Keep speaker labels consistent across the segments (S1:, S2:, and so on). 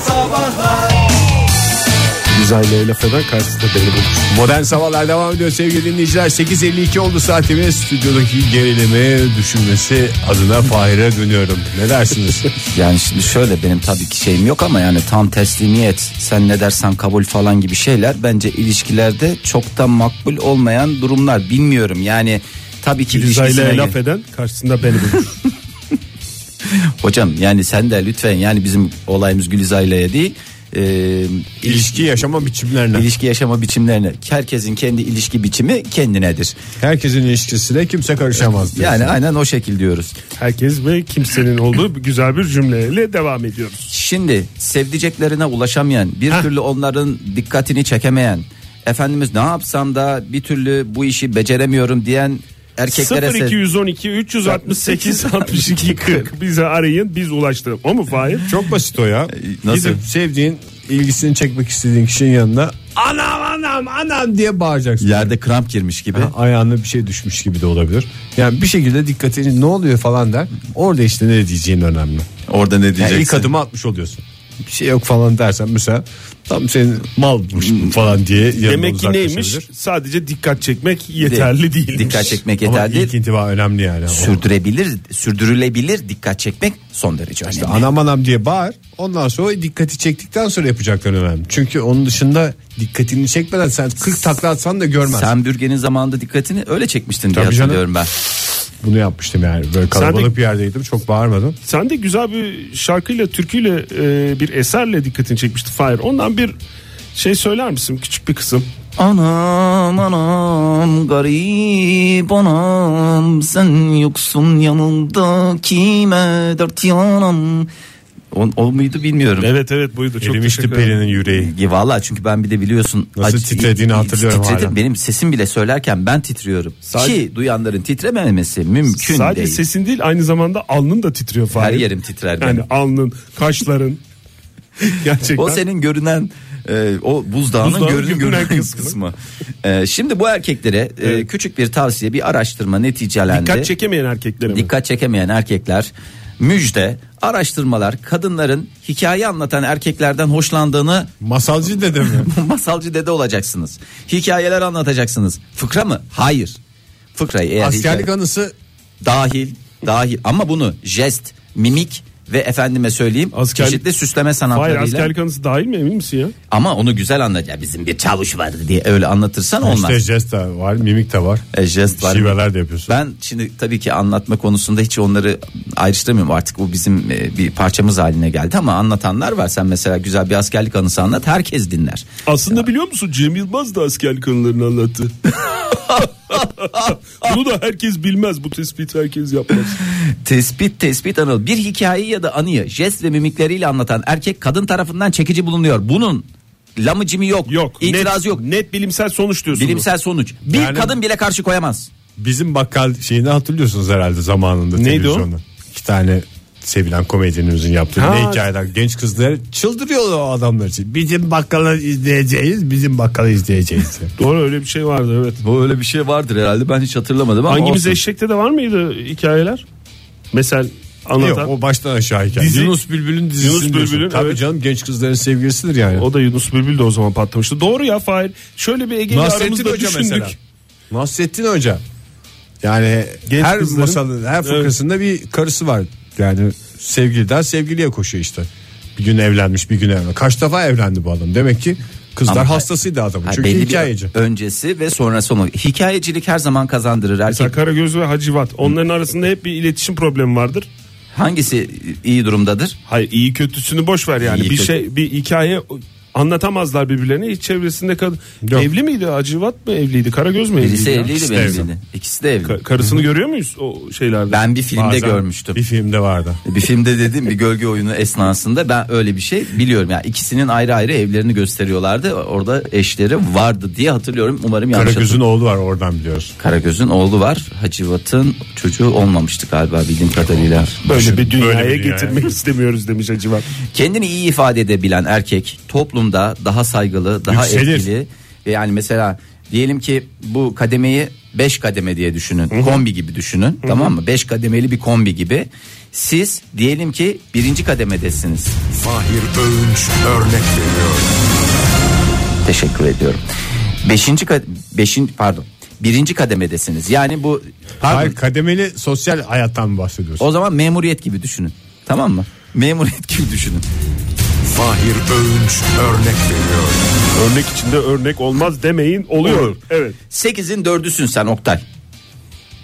S1: Sabahlar
S2: Dizaynlara laf eden karşısında beni bulur. Modern Sabahlar devam ediyor sevgili dinleyiciler. 8.52 oldu saatimiz. Stüdyodaki gerilimi düşünmesi adına Fahir'e dönüyorum. Ne dersiniz?
S3: Yani şimdi şöyle benim tabii ki şeyim yok ama yani tam teslimiyet sen ne dersen kabul falan gibi şeyler bence ilişkilerde çok da makbul olmayan durumlar bilmiyorum yani tabii ki ilişkisine
S4: Dizaynlara laf
S3: gir-
S4: eden karşısında beni bulur.
S3: hocam yani sen de lütfen yani bizim olayımız Gülizay'la değil e,
S2: İlişki yaşama biçimlerine.
S3: ilişki yaşama biçimlerine herkesin kendi ilişki biçimi kendinedir
S2: Herkesin ilişkisine kimse karışamaz. diyorsun.
S3: yani aynen o şekil diyoruz
S4: Herkes ve kimsenin olduğu güzel bir cümleyle devam ediyoruz.
S3: Şimdi sevdiceklerine ulaşamayan, bir türlü onların dikkatini çekemeyen, efendimiz ne yapsam da bir türlü bu işi beceremiyorum diyen erkeklere
S4: 0
S3: sev-
S4: 212 368 62 40 bize arayın biz ulaştıralım. O mu Fahir?
S2: Çok basit o ya.
S3: E, nasıl?
S2: Gidip sevdiğin ilgisini çekmek istediğin kişinin yanına anam anam anam diye bağıracaksın.
S3: yerde kramp girmiş gibi.
S2: Ha, ayağına bir şey düşmüş gibi de olabilir. Yani bir şekilde dikkatini ne oluyor falan der. Orada işte ne diyeceğin önemli.
S3: Orada ne
S2: Yani
S3: diyeceksin?
S2: ilk adımı atmış oluyorsun. Bir şey yok falan dersen mesela tam senin malmış bu falan diye yanına
S4: Demek ki neymiş?
S2: uzaklaşabilir.
S4: Sadece dikkat çekmek yeterli değil.
S3: Dikkat çekmek
S2: Ama
S3: yeterli.
S2: ilk
S3: değil.
S2: intiba önemli yani. O-
S3: Sürdürebilir, sürdürülebilir dikkat çekmek son derece önemli.
S2: İşte anam anam diye bağır. Ondan sonra dikkati çektikten sonra yapacaklar önemli. Çünkü onun dışında dikkatini çekmeden sen 40 takla atsan da görmez.
S3: Sen bürgenin zamanında dikkatini öyle çekmiştin diye
S2: Tabii canım.
S3: hatırlıyorum ben.
S2: Bunu yapmıştım yani. Böyle kalabalık
S4: Sen de-
S2: bir yerdeydim. Çok bağırmadım.
S4: Sen de güzel bir şarkıyla, türküyle, e, bir eserle dikkatini çekmişti Fahir. Ondan bir şey söyler misin? Küçük bir kısım.
S3: Anam anam garip anam sen yoksun yanımda kime dert yanam. O, o muydu bilmiyorum.
S4: Evet evet buydu. Çok
S2: Erimişti
S4: teşekkür ederim.
S2: Pelin'in yüreği.
S3: Ya Valla çünkü ben bir de biliyorsun
S2: Nasıl titrediğini hatırlıyorum
S3: titredim.
S2: hala.
S3: Benim sesim bile söylerken ben titriyorum Ki duyanların titrememesi mümkün
S4: Sadece
S3: değil
S4: sesin değil aynı zamanda alnın da titriyor Fahir.
S3: Her yerim titrer
S4: Yani
S3: benim.
S4: alnın, kaşların. Gerçekten.
S3: O senin görünen e, o buzdağının
S4: Buzdağının
S3: görünün
S4: görünen
S3: görünen kısmı,
S4: kısmı.
S3: E, Şimdi bu erkeklere e, küçük bir tavsiye bir araştırma neticelendi
S4: Dikkat çekemeyen erkeklere mi?
S3: Dikkat çekemeyen erkekler müjde araştırmalar kadınların hikaye anlatan erkeklerden hoşlandığını
S2: Masalcı dedim mi?
S3: masalcı dede olacaksınız. Hikayeler anlatacaksınız. Fıkra mı? Hayır. Fıkrayı eğer
S2: Askerlik
S3: hikaye-
S2: anısı
S3: dahil dahil ama bunu jest, mimik ve efendime söyleyeyim
S4: Askerlik-
S3: çeşitli süsleme
S4: Hayır
S3: sanatlarıyla
S4: askerlik anısı dahil mi emin misin ya?
S3: ama onu güzel anlat ya bizim bir çavuş vardı diye öyle anlatırsan olmaz.
S2: İşte jest de var, mimik de var.
S3: E, jest var.
S2: Şiveler de yapıyorsun.
S3: Ben şimdi tabii ki anlatma konusunda hiç onları ayrıştıramıyorum artık bu bizim e, bir parçamız haline geldi ama anlatanlar var. Sen mesela güzel bir askerlik anısı anlat herkes dinler.
S4: Aslında biliyor musun Cem Yılmaz da askerlik anılarını anlattı. Bunu da herkes bilmez. Bu tespiti herkes yapmaz.
S3: Tespit tespit anıl. Bir hikayeyi ya da anıyı jest ve mimikleriyle anlatan erkek kadın tarafından çekici bulunuyor. Bunun lamı cimi yok.
S4: Yok.
S3: İtiraz
S4: net,
S3: yok.
S4: Net bilimsel sonuç diyorsun.
S3: Bilimsel sonuç. Bir
S2: Yani-
S3: kadın bile karşı koyamaz.
S2: Bizim bakkal şeyini hatırlıyorsunuz herhalde zamanında
S4: Neydi
S2: televizyonda. İki tane sevilen komedyenimizin yaptığı
S4: Ha.
S2: ne hikayeler genç kızları çıldırıyorlar o adamlar için. Bizim bakkalı izleyeceğiz, bizim bakkalı izleyeceğiz.
S4: bu. Doğru öyle bir şey vardı evet.
S3: Bu öyle bir şey vardır herhalde. Ben hiç hatırlamadım ama
S4: Hangimiz
S3: olsun.
S4: eşekte de var mıydı hikayeler? Mesela
S2: Yok
S4: anlatan.
S2: o baştan aşağı hikaye.
S4: Dizi-
S2: Yunus Bülbül'ün dizisi.
S4: Yunus Bülbül'ün,
S2: Tabii
S4: evet.
S2: canım genç kızların sevgilisidir yani.
S4: o... da Yunus Bülbül de o zaman patlamıştı. Doğru ya Fahir. Şöyle bir Ege'yi
S2: Nasrettin
S4: aramızda
S2: Hoca
S4: düşündük.
S2: mesela. Nasrettin Hoca. Yani
S4: Genç
S2: her
S4: kızların-
S2: masalın her fıkrasında bir karısı var. Yani sevgiliden sevgiliye koşuyor işte. Bir gün evlenmiş bir gün evlenmiş. Kaç defa evlendi bu adam. Demek ki kızlar
S3: Ama-
S2: hastasıydı adamın.
S3: Ha,
S2: Çünkü
S3: belli bir
S2: hikayeci.
S3: öncesi ve sonrası olmak. Hikayecilik her zaman kazandırır. Erkek
S4: Mesela Karagöz ve Hacivat. Onların arasında hep bir iletişim problemi vardır.
S3: hangisi iyi durumdadır?
S4: Hayır iyi kötüsünü boş ver yani.
S3: İyi
S4: bir
S3: kötü-
S4: şey bir hikaye anlatamazlar birbirlerine. Hiç çevresinde kadın
S2: Yok.
S4: evli miydi? Hacivat mı evliydi? Karagöz mü evliydi?
S3: Birisi
S4: ya?
S3: evliydi,
S4: İkisi de
S3: benim
S4: evli.
S3: evliydi. İkisi de evli.
S4: Ka- karısını görüyor muyuz o şeylerde?
S3: ben bir filmde
S2: Bazen
S3: görmüştüm.
S2: Bir filmde vardı.
S3: Bir filmde dedim bir gölge oyunu esnasında ben öyle bir şey biliyorum. Yani ikisinin ayrı ayrı evlerini gösteriyorlardı. Orada eşleri vardı diye hatırlıyorum. Umarım yanlış
S2: Karagöz'ün
S3: hatırlamıyorum.
S2: oğlu var oradan biliyoruz.
S3: Karagöz'ün oğlu var. Hacivat'ın çocuğu olmamıştı galiba bildiğim kadarıyla.
S4: Böyle bir dünyaya
S2: Böyle bir dünya.
S4: getirmek istemiyoruz demiş Hacivat.
S3: Kendini iyi ifade edebilen erkek toplumda daha saygılı, daha
S2: Yükselir.
S3: etkili. Ve yani mesela diyelim ki bu kademeyi 5 kademe diye düşünün. Kombi gibi düşünün. Tamam mı? 5 kademeli bir kombi gibi. Siz diyelim ki birinci kademedesiniz.
S1: Fahir Öğünç örnek veriyor.
S3: Teşekkür ediyorum. Beşinci, kad- beşin, pardon birinci kademedesiniz. Yani bu pardon,
S2: Hayır kademeli sosyal hayattan mı bahsediyorsun?
S3: o zaman memuriyet gibi düşünün. Tamam mı? Memuriyet gibi düşünün.
S1: Fahir Öğünç örnek veriyor.
S4: Örnek içinde örnek olmaz demeyin oluyor. Evet.
S3: 8'in 4'üsün sen Oktay.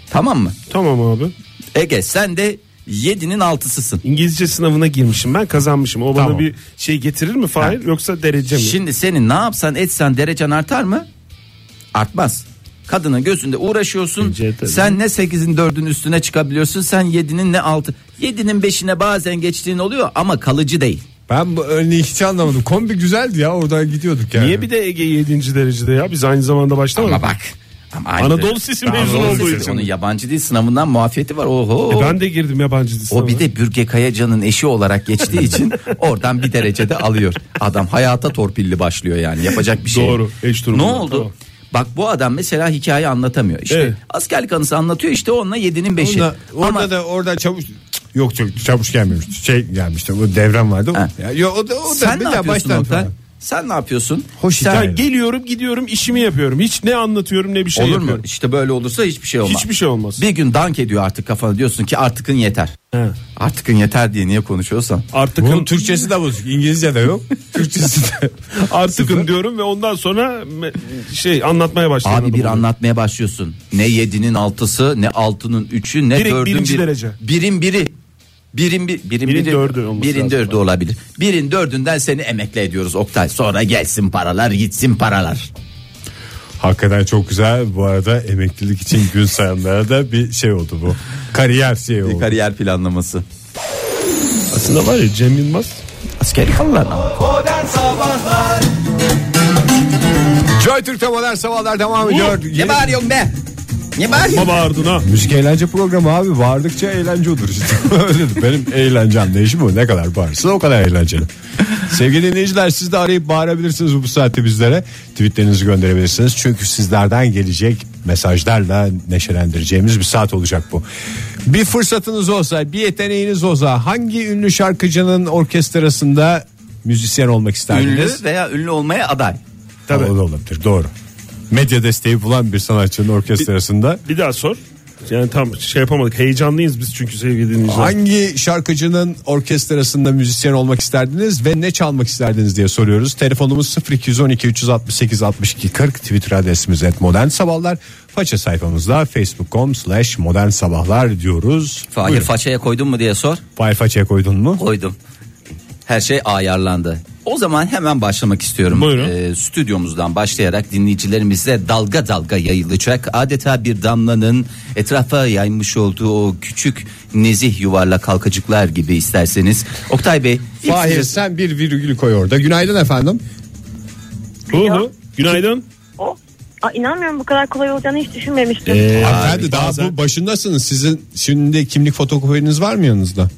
S3: Tamam mı?
S4: Tamam abi.
S3: Ege sen de 7'nin 6'sısın.
S4: İngilizce sınavına girmişim ben kazanmışım. O
S2: Tamam.
S4: bana bir şey getirir mi Fahir yoksa derece mi?
S3: Şimdi senin ne yapsan etsen derecen artar mı? Artmaz. Kadının gözünde uğraşıyorsun.
S4: Bence tabii.
S3: Sen ne 8'in 4'ün üstüne çıkabiliyorsun. Sen 7'nin ne 6. 7'nin 5'ine bazen geçtiğin oluyor ama kalıcı değil.
S2: Ben bu örneği hiç anlamadım. Kombi güzeldi ya oradan gidiyorduk yani.
S4: Niye bir de Ege 7. derecede ya? Biz aynı zamanda başlamadık.
S3: Ama bak. Ama aynı
S4: Anadolu Sesi mezunu
S3: Anadolu
S4: olduğu
S3: Sesi.
S4: için.
S3: Onun yabancı dil sınavından muafiyeti var. Oho.
S4: E ben de girdim yabancı dil sınavına.
S3: O bir de Bürge Kayacan'ın eşi olarak geçtiği için oradan bir derecede alıyor. Adam hayata torpilli başlıyor yani yapacak bir şey. yok.
S4: Doğru, eş
S3: Ne
S4: durumunda,
S3: oldu?
S4: tamam.
S3: Bak bu adam mesela hikaye anlatamıyor. İşte
S4: Evet.
S3: askerlik anısı anlatıyor işte onunla 7'nin 5'i.
S2: Onda, orada
S3: Ama
S2: da orada çavuş yok çavuş, çavuş gelmemişti. Şey gelmişti. O devrem vardı.
S3: Ha.
S2: Ya, yo, o da o da
S3: sen
S2: bir
S3: ne
S2: daha
S3: yapıyorsun
S2: baştan
S3: Oktay?
S2: falan.
S3: Sen ne yapıyorsun?
S2: Hoş
S3: Sen-
S2: hikaye.
S4: Ben geliyorum gidiyorum işimi yapıyorum. Hiç ne anlatıyorum ne bir şey
S3: Olur mu?
S4: yapıyorum.
S3: İşte böyle olursa hiçbir şey olmaz.
S4: Hiçbir şey olmaz.
S3: Bir gün dank ediyor artık kafana diyorsun ki artıkın yeter.
S4: He.
S3: Artıkın yeter diye niye konuşuyorsan.
S4: Artık
S2: Bunun Türkçesi de bozuk. İngilizce de yok. Türkçesi de.
S4: artıkın diyorum ve ondan sonra me- şey anlatmaya başladım.
S3: Abi bir anlatmaya başlıyorsun. Ne 7'nin 6'sı ne 6'nın 3'ü ne
S4: Direkt
S3: 4'ün
S4: birinci
S3: 1'i.
S4: derece.
S3: Birin biri. Birin bir birin,
S4: Birin
S3: biri-
S4: dördü olması
S3: birin
S4: lazım.
S3: dördü olabilir. Birin dördünden seni emekli ediyoruz Oktay. Sonra gelsin paralar, gitsin paralar.
S2: Hakikaten çok güzel. Bu arada emeklilik için gün sayanlara da bir şey oldu bu. Kariyer şey oldu.
S3: Bir kariyer planlaması.
S4: Aslında var ya Cem Yılmaz.
S3: Askeri kalırlar.
S2: Joy Türk'te modern sabahlar devam ediyor.
S3: Ne bağırıyorsun be? Ne bağırıyorsun?
S4: Baba ardına.
S2: Müzik eğlence programı abi bağırdıkça eğlence olur işte. Öyle benim eğlence anlayışım bu. Ne kadar bağırırsa o kadar eğlenceli. Sevgili dinleyiciler siz de arayıp bağırabilirsiniz bu saatte bizlere. Tweetlerinizi gönderebilirsiniz. Çünkü sizlerden gelecek mesajlarla neşelendireceğimiz bir saat olacak bu. Bir fırsatınız olsa, bir yeteneğiniz olsa hangi ünlü şarkıcının orkestrasında müzisyen olmak
S3: Ünlü
S2: isterdiniz?
S3: veya ünlü olmaya aday.
S4: Tabii.
S2: O da olabilir doğru. Medya desteği bulan bir sanatçının orkestrasında
S4: Bir daha sor. Yani tam şey yapamadık. Heyecanlıyız biz çünkü sevgili dinleyiciler.
S2: Hangi şarkıcının orkestrasında müzisyen olmak isterdiniz ve ne çalmak isterdiniz diye soruyoruz. Telefonumuz 0212 368 62 40 Twitter adresimiz et modern sabahlar. Faça sayfamızda facebook.com slash modern sabahlar diyoruz.
S3: Fahir
S2: Buyurun.
S3: façaya koydun mu diye sor.
S2: Fahir façaya koydun mu?
S3: koydum. Her şey ayarlandı. O zaman hemen başlamak istiyorum.
S4: Buyurun.
S3: Ee, stüdyomuzdan başlayarak dinleyicilerimize dalga dalga yayılacak. Adeta bir damlanın etrafa yaymış olduğu o küçük nezih yuvarlak halkacıklar gibi isterseniz. Oktay Bey. ilk
S2: Fahir
S3: size-
S2: sen bir virgül koy orada. Günaydın efendim.
S4: Hu hu. Günaydın.
S5: O, Aa, inanmıyorum bu kadar kolay olacağını hiç düşünmemiştim.
S3: Ee,
S2: Hanımefendi daha bu başındasınız. Sizin şimdi kimlik fotokopiniz var mı yanınızda?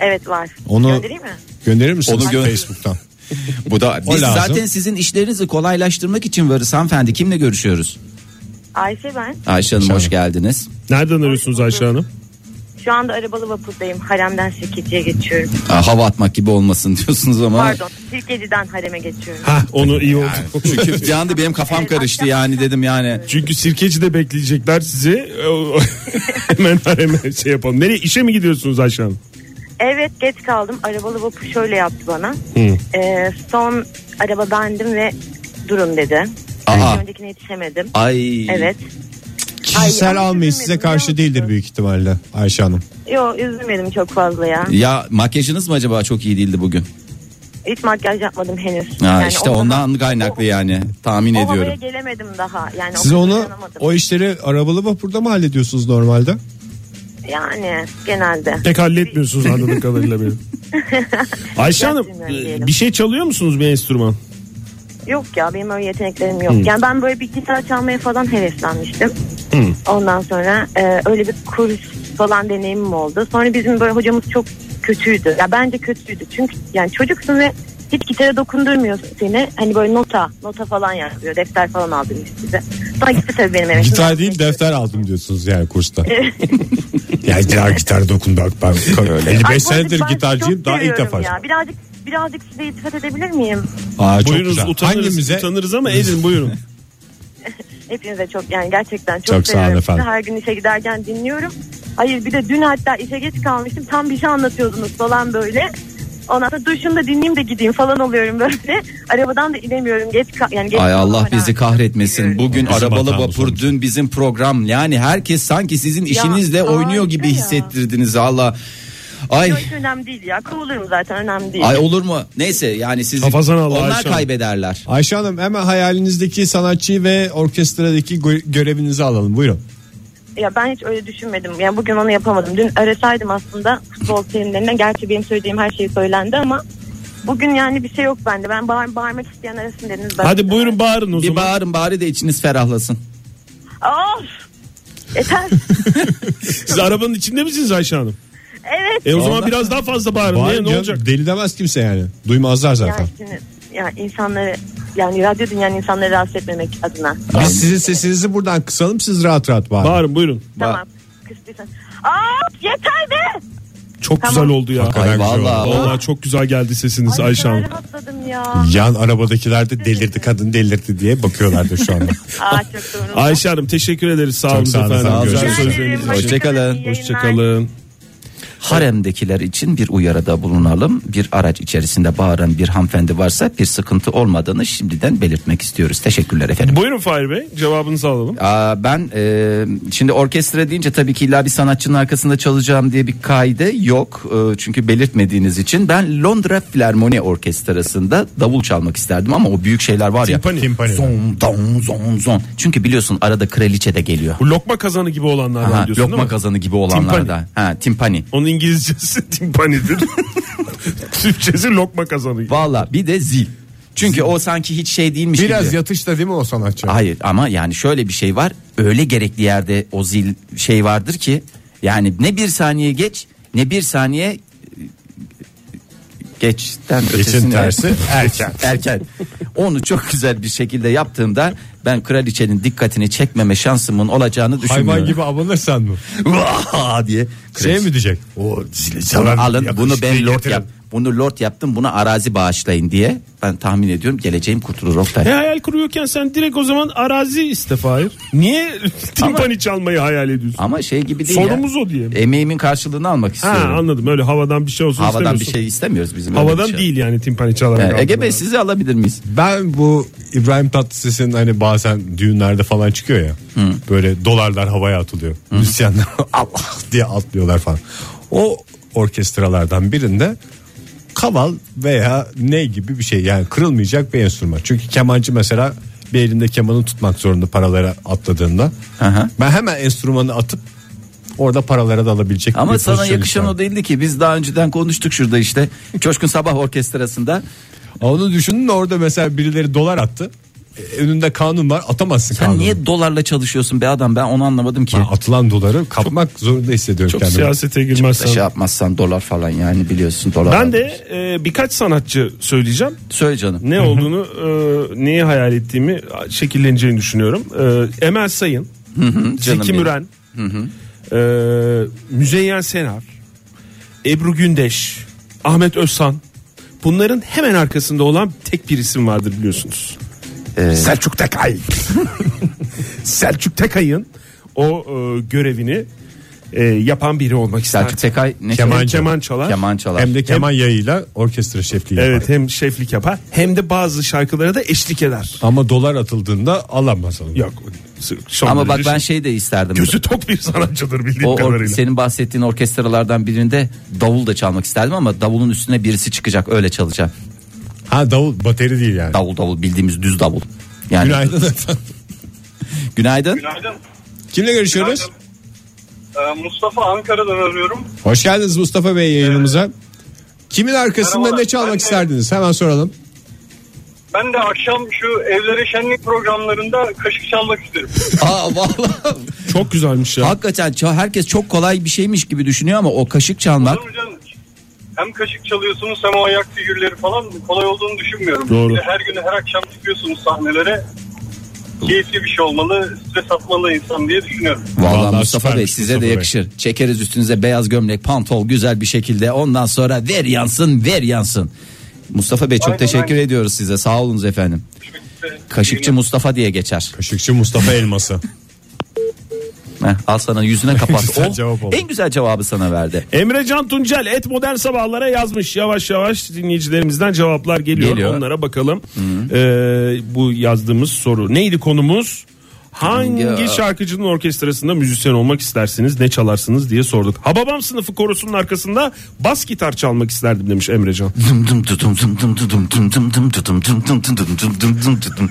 S5: evet var.
S2: Onu
S5: Göndereyim mi?
S2: Gönderir misiniz
S3: Onu gö-
S2: Facebook'tan?
S3: Bu da
S2: O
S3: biz
S2: lazım.
S3: zaten sizin işlerinizi kolaylaştırmak için varız hanımefendi. Kimle görüşüyoruz?
S5: Ayşe ben.
S3: Ayşe Hanım hoş
S2: Hanım.
S3: geldiniz.
S4: Nereden arıyorsunuz Ayşe Hanım?
S5: Şu anda arabalı vapurdayım. Haremden Sirkeci'ye geçiyorum.
S3: Aa, hava atmak gibi olmasın diyorsunuz ama.
S5: Pardon. Sirkeci'den hareme geçiyorum.
S4: Ha onu iyi oldu.
S3: Çünkü bir anda benim kafam
S5: Evet,
S3: karıştı
S5: akşam-
S3: yani dedim yani.
S4: Çünkü sirkeci de bekleyecekler sizi. hemen hemen şey yapalım. Nereye işe mi gidiyorsunuz Ayşe Hanım?
S5: Evet geç kaldım. Arabalı vapur şöyle yaptı bana. Ee, son araba bendim ve durun dedi. Ben
S3: Aa.
S5: öncekine yetişemedim.
S3: Ay.
S5: Evet. Ay,
S2: Kişisel
S5: ama
S2: almayı
S5: üzülmedim,
S2: size
S5: biliyor
S2: karşı
S5: musun?
S2: değildir büyük ihtimalle Ayşe Hanım.
S5: Yo üzülmedim çok fazla ya.
S3: Ya makyajınız mı acaba çok iyi değildi bugün?
S5: Hiç makyaj yapmadım henüz.
S3: Ha,
S5: Yani
S3: işte
S5: o-
S3: ondan kaynaklı yani tahmin
S5: O havaya
S3: ediyorum.
S5: gelemedim daha. Yani o
S2: Siz
S5: kadar
S2: onu
S5: dayanamadım.
S2: o işleri arabalı vapurda mı hallediyorsunuz normalde?
S5: Yani genelde.
S4: Pek halletmiyorsunuz anladığım kadarıyla benim. Ayşe Hanım
S5: Gerçekten
S4: e,
S5: diyelim.
S4: bir şey çalıyor musunuz bir enstrüman?
S5: Yok ya benim öyle yeteneklerim yok. Yani ben böyle bir gitar çalmaya falan heveslenmiştim. Ondan sonra e, öyle bir kurs falan deneyimim oldu. Sonra bizim böyle hocamız çok kötüydü. Ya bence kötüydü. Çünkü yani çocuksun ve hiç gitara dokundurmuyor seni. Hani böyle nota, nota falan yazıyor. Defter falan aldırmış size. Sonra gitti tabii benim eve.
S2: Gitar değil defter aldım diyorsunuz yani kursta. yani gitar gitar dokundu ben öyle.
S5: Ay, bu
S2: 55
S5: arada
S2: senedir
S5: ben
S2: gitarcıyım
S5: çok
S2: daha ilk
S5: seviyorum
S2: defa.
S5: Ya. Birazcık birazcık size iltifat edebilir miyim?
S2: Aa, çok
S4: Buyurunuz
S2: güzel.
S4: utanırız,
S2: Hangimize?
S4: utanırız ama edin buyurun.
S5: Hepinize çok yani gerçekten çok,
S2: Çok sağ olun
S5: seviyorum.
S2: efendim.
S5: Sizi her gün işe giderken dinliyorum. Hayır bir de dün hatta işe geç kalmıştım. Tam bir şey anlatıyordunuz falan böyle. Ondan sonra duşunu da dinleyeyim de gideyim falan oluyorum böyle. Arabadan da inemiyorum. Geç ka- yani geç
S3: Ay Allah
S5: kalmama
S3: bizi
S5: rağmen.
S3: kahretmesin. Bugün
S2: Bizim
S3: arabalı
S2: hatamız
S3: vapur
S2: olmuş.
S3: dün bizim program. Yani herkes sanki sizin işinizle
S5: harika
S3: oynuyor gibi
S5: ya.
S3: hissettirdiniz Allah. Ay
S5: Yok, hiç önemli değil ya. Kovulurum zaten önemli değil.
S3: ay olur mu? Neyse yani siz
S4: Kafasına al,
S3: onlar
S4: Ayşe Hanım.
S3: kaybederler.
S2: Ayşe Hanım hemen hayalinizdeki sanatçıyı ve orkestradaki gö- görevinizi alalım buyurun.
S5: Ya ben hiç öyle düşünmedim. Yani bugün onu yapamadım. Dün arasaydım aslında futbol terimlerine. Gerçi benim söylediğim her şey söylendi ama bugün yani bir şey yok bende. Ben bağır, bağırmak isteyen arasın dediniz. Ben
S4: Hadi buyurun bağırın o
S3: Bir
S4: zaman.
S3: bağırın bari de içiniz ferahlasın.
S5: Of! Yeter.
S4: Siz arabanın içinde misiniz Ayşe Hanım?
S5: evet.
S4: E o zaman
S3: Vallahi-
S4: biraz daha fazla bağırın.
S2: Bağırın
S4: Ne, ne
S2: canım,
S4: olacak?
S2: Deli demez kimse yani. Duymazlar zaten.
S5: Yani, şimdi, ya insanları yani radyo dünyanın insanları rahatsız etmemek adına.
S2: Biz sizin sesinizi buradan kısalım siz rahat rahat bağırın.
S4: Bağırın buyurun.
S5: Tamam. Kıstıysan. Aa yeter be.
S4: Çok
S5: Tamam.
S4: güzel oldu ya.
S3: Ay vallahi.
S4: Vallahi çok güzel geldi sesiniz
S5: Ay,
S4: Ayşe Hanım.
S5: rahatladım ya.
S2: Yan arabadakiler de delirdi kadın delirdi diye bakıyorlardır şu anda.
S5: Aa çok doğru.
S4: Ayşe Hanım teşekkür ederiz. Sağ olun
S2: sağ olun
S4: efendim.
S2: efendim.
S4: Güzel
S2: Görüşürüz.
S4: sözleriniz için.
S3: Hoşça kalın.
S5: İyi yayınlar.
S4: Hoşçakalın.
S3: Haremdekiler için bir uyarıda bulunalım. Bir araç içerisinde bağıran bir hanımefendi varsa bir sıkıntı olmadığını şimdiden belirtmek istiyoruz. Teşekkürler efendim.
S4: Buyurun Fahir Bey cevabınızı alalım.
S3: Aa, ben e, şimdi orkestra deyince tabii ki illa bir sanatçının arkasında çalacağım diye bir kaide yok. E, çünkü belirtmediğiniz için ben Londra Filarmoni Orkestrası'nda davul çalmak isterdim ama o büyük şeyler var ya.
S4: Timpani.
S3: Zon, don, zon, zon. Çünkü biliyorsun arada kraliçe de geliyor.
S4: Bu lokma kazanı gibi olanlardan
S3: Ha,
S4: diyorsun değil
S3: lokma
S4: mi?
S3: kazanı gibi olanlar
S4: Timpani.
S3: da. Ha, timpani.
S4: Onun İngilizcesi timpanidir. Türkçesi lokma kazanı.
S3: Valla bir de zil. Çünkü o sanki hiç şey değilmiş gibi.
S2: Biraz yatışta değil mi o sanatçı?
S3: Hayır ama yani şöyle bir şey var. Öyle gerekli yerde o zil şey vardır ki yani ne bir saniye geç ne bir saniye e, geçten ötesine-
S2: tersi erken.
S3: erken. Onu çok güzel bir şekilde yaptığımda ben kraliçenin dikkatini çekmeme şansımın olacağını düşünmüyorum.
S2: Hayvan gibi abanırsan mı?
S3: Vaa diye.
S2: Şey mi diyecek?
S3: O zili
S2: çalan
S3: alın bunu ben
S2: yakışıklıyı
S3: lord
S2: getirin.
S3: yap. Bunu lord yaptım buna arazi bağışlayın diye. Ben tahmin ediyorum geleceğim kurtulur
S4: E
S3: Oktay.
S4: hayal kuruyorken sen direkt o zaman arazi iste Fahir. Niye timpani çalmayı hayal ediyorsun?
S3: Ama şey gibi değil
S4: Sorumuz
S3: ya.
S4: o diye.
S3: Emeğimin karşılığını almak istiyorum.
S4: Ha anladım öyle havadan bir şey olsun
S3: Havadan bir
S4: istemiyorsun.
S3: şey istemiyoruz bizim. öyle
S4: Havadan
S3: bir şey.
S4: değil yani timpani çalan.
S3: Yani
S4: Yani,
S3: Ege Bey sizi alabilir miyiz?
S2: Ben bu İbrahim Tatlıses'in hani bazen düğünlerde falan çıkıyor ya. Böyle dolarlar havaya atılıyor. Müzisyenler Allah diye atlıyorlar falan. O orkestralardan birinde kaval veya ne gibi bir şey yani kırılmayacak bir enstrüman. Çünkü kemancı mesela bir elinde kemanı tutmak zorunda paralara atladığında.
S3: Hı hı.
S2: Ben hemen enstrümanı atıp orada paralara dalabilecek
S3: Ama
S2: bir
S3: sana
S2: pozisyon
S3: yakışan
S2: istiyorum.
S3: o değildi ki. Biz daha önceden konuştuk şurada işte. Coşkun Sabah Orkestrası'nda.
S2: Onu düşünün de orada mesela birileri dolar attı. E, Önünde kanun var atamazsın
S3: Sen
S2: kanunu.
S3: niye dolarla çalışıyorsun be adam ben onu anlamadım ki.
S2: Ben Ee, atılan doları kapmak zorunda hissediyorum
S4: Çok
S2: kendimi.
S4: siyasete girmezsen.
S3: şey yapmazsan dolar falan yani biliyorsun dolar.
S4: Ben de e, birkaç sanatçı söyleyeceğim.
S3: Söyle canım.
S4: Ne olduğunu, e, neyi hayal ettiğimi şekilleneceğini düşünüyorum. E, Emel Sayın,
S3: canım
S4: Zeki
S3: benim.
S4: Müren, e, Müzeyyen Senar, Ebru Gündeş, Ahmet Özsan. Bunların hemen arkasında olan tek bir isim vardır biliyorsunuz.
S3: Ee,
S4: Selçuk Tekay. Selçuk Tekay'ın o e, görevini e, yapan biri olmak ister.
S3: Selçuk Tekay ne
S4: Keman,
S3: çalıyor?
S4: keman çalar.
S3: Keman çalar.
S2: Hem de keman yayıyla orkestra şefliği yapar.
S4: Evet hem şeflik yapar hem de bazı şarkılara da eşlik eder.
S2: Ama dolar atıldığında alamaz onu.
S4: Yok. son
S3: Ama bak
S4: derece
S3: ben şey de isterdim.
S4: gözü tok bir sanatçıdır bildiğim
S3: o, or-
S4: kadarıyla.
S3: senin bahsettiğin orkestralardan birinde davul da çalmak isterdim ama davulun üstüne birisi çıkacak öyle çalacağım.
S2: Ha davul bateri değil yani.
S3: Davul davul bildiğimiz düz davul. Yani
S2: Günaydın efendim.
S3: günaydın.
S6: Günaydın.
S2: Kimle görüşüyoruz?
S6: Ee, Mustafa Ankara'dan arıyorum.
S2: Hoş geldiniz Mustafa Bey yayınımıza. Kimin arkasında
S6: Merhabalar.
S2: ne çalmak
S6: Ben de-
S2: isterdiniz? Hemen soralım.
S6: Ben de akşam şu evlere şenlik programlarında kaşık çalmak isterim.
S3: Aa vallahi
S4: Çok güzelmiş ya.
S3: Hakikaten ça- herkes çok kolay bir şeymiş gibi düşünüyor ama o kaşık çalmak
S6: Olur mu canım? Hem kaşık çalıyorsunuz hem o ayak figürleri falan kolay olduğunu düşünmüyorum.
S4: Doğru.
S6: Bir de Her gün her akşam çıkıyorsunuz sahnelere. keyifli bir şey olmalı, stres atmalı insan diye düşünüyorum.
S3: Vallahi,
S2: Vallahi
S3: Mustafa
S2: süpermiş
S3: Bey size
S2: Mustafa
S3: de
S2: Bey.
S3: yakışır. Çekeriz üstünüze beyaz gömlek, pantol güzel bir şekilde. Ondan sonra ver yansın, ver yansın. Mustafa Bey çok
S6: Aynen,
S3: teşekkür
S6: aynen.
S3: ediyoruz size. Sağ olunuz efendim.
S6: İşte-
S3: Kaşıkçı Mustafa diye geçer.
S2: Kaşıkçı Mustafa Elması.
S3: Heh, al sana yüzüne kapat.
S2: güzel
S3: O
S2: cevap oldu.
S3: en güzel cevabı sana verdi.
S4: Emre Can Tuncel et modern sabahlara yazmış. Yavaş yavaş dinleyicilerimizden cevaplar geliyor.
S3: Geliyor.
S4: Onlara bakalım. Ee, bu yazdığımız soru. Neydi konumuz? Hangi
S3: Hangi-
S4: şarkıcının orkestrasında müzisyen olmak istersiniz? Ne çalarsınız diye sorduk. Hababam sınıfı korosunun arkasında bas gitar çalmak isterdim demiş Emre Can.
S3: Dım dım tutum dım dım tutum dım dım dım tutum dım dım tutum dım dım dım tutum.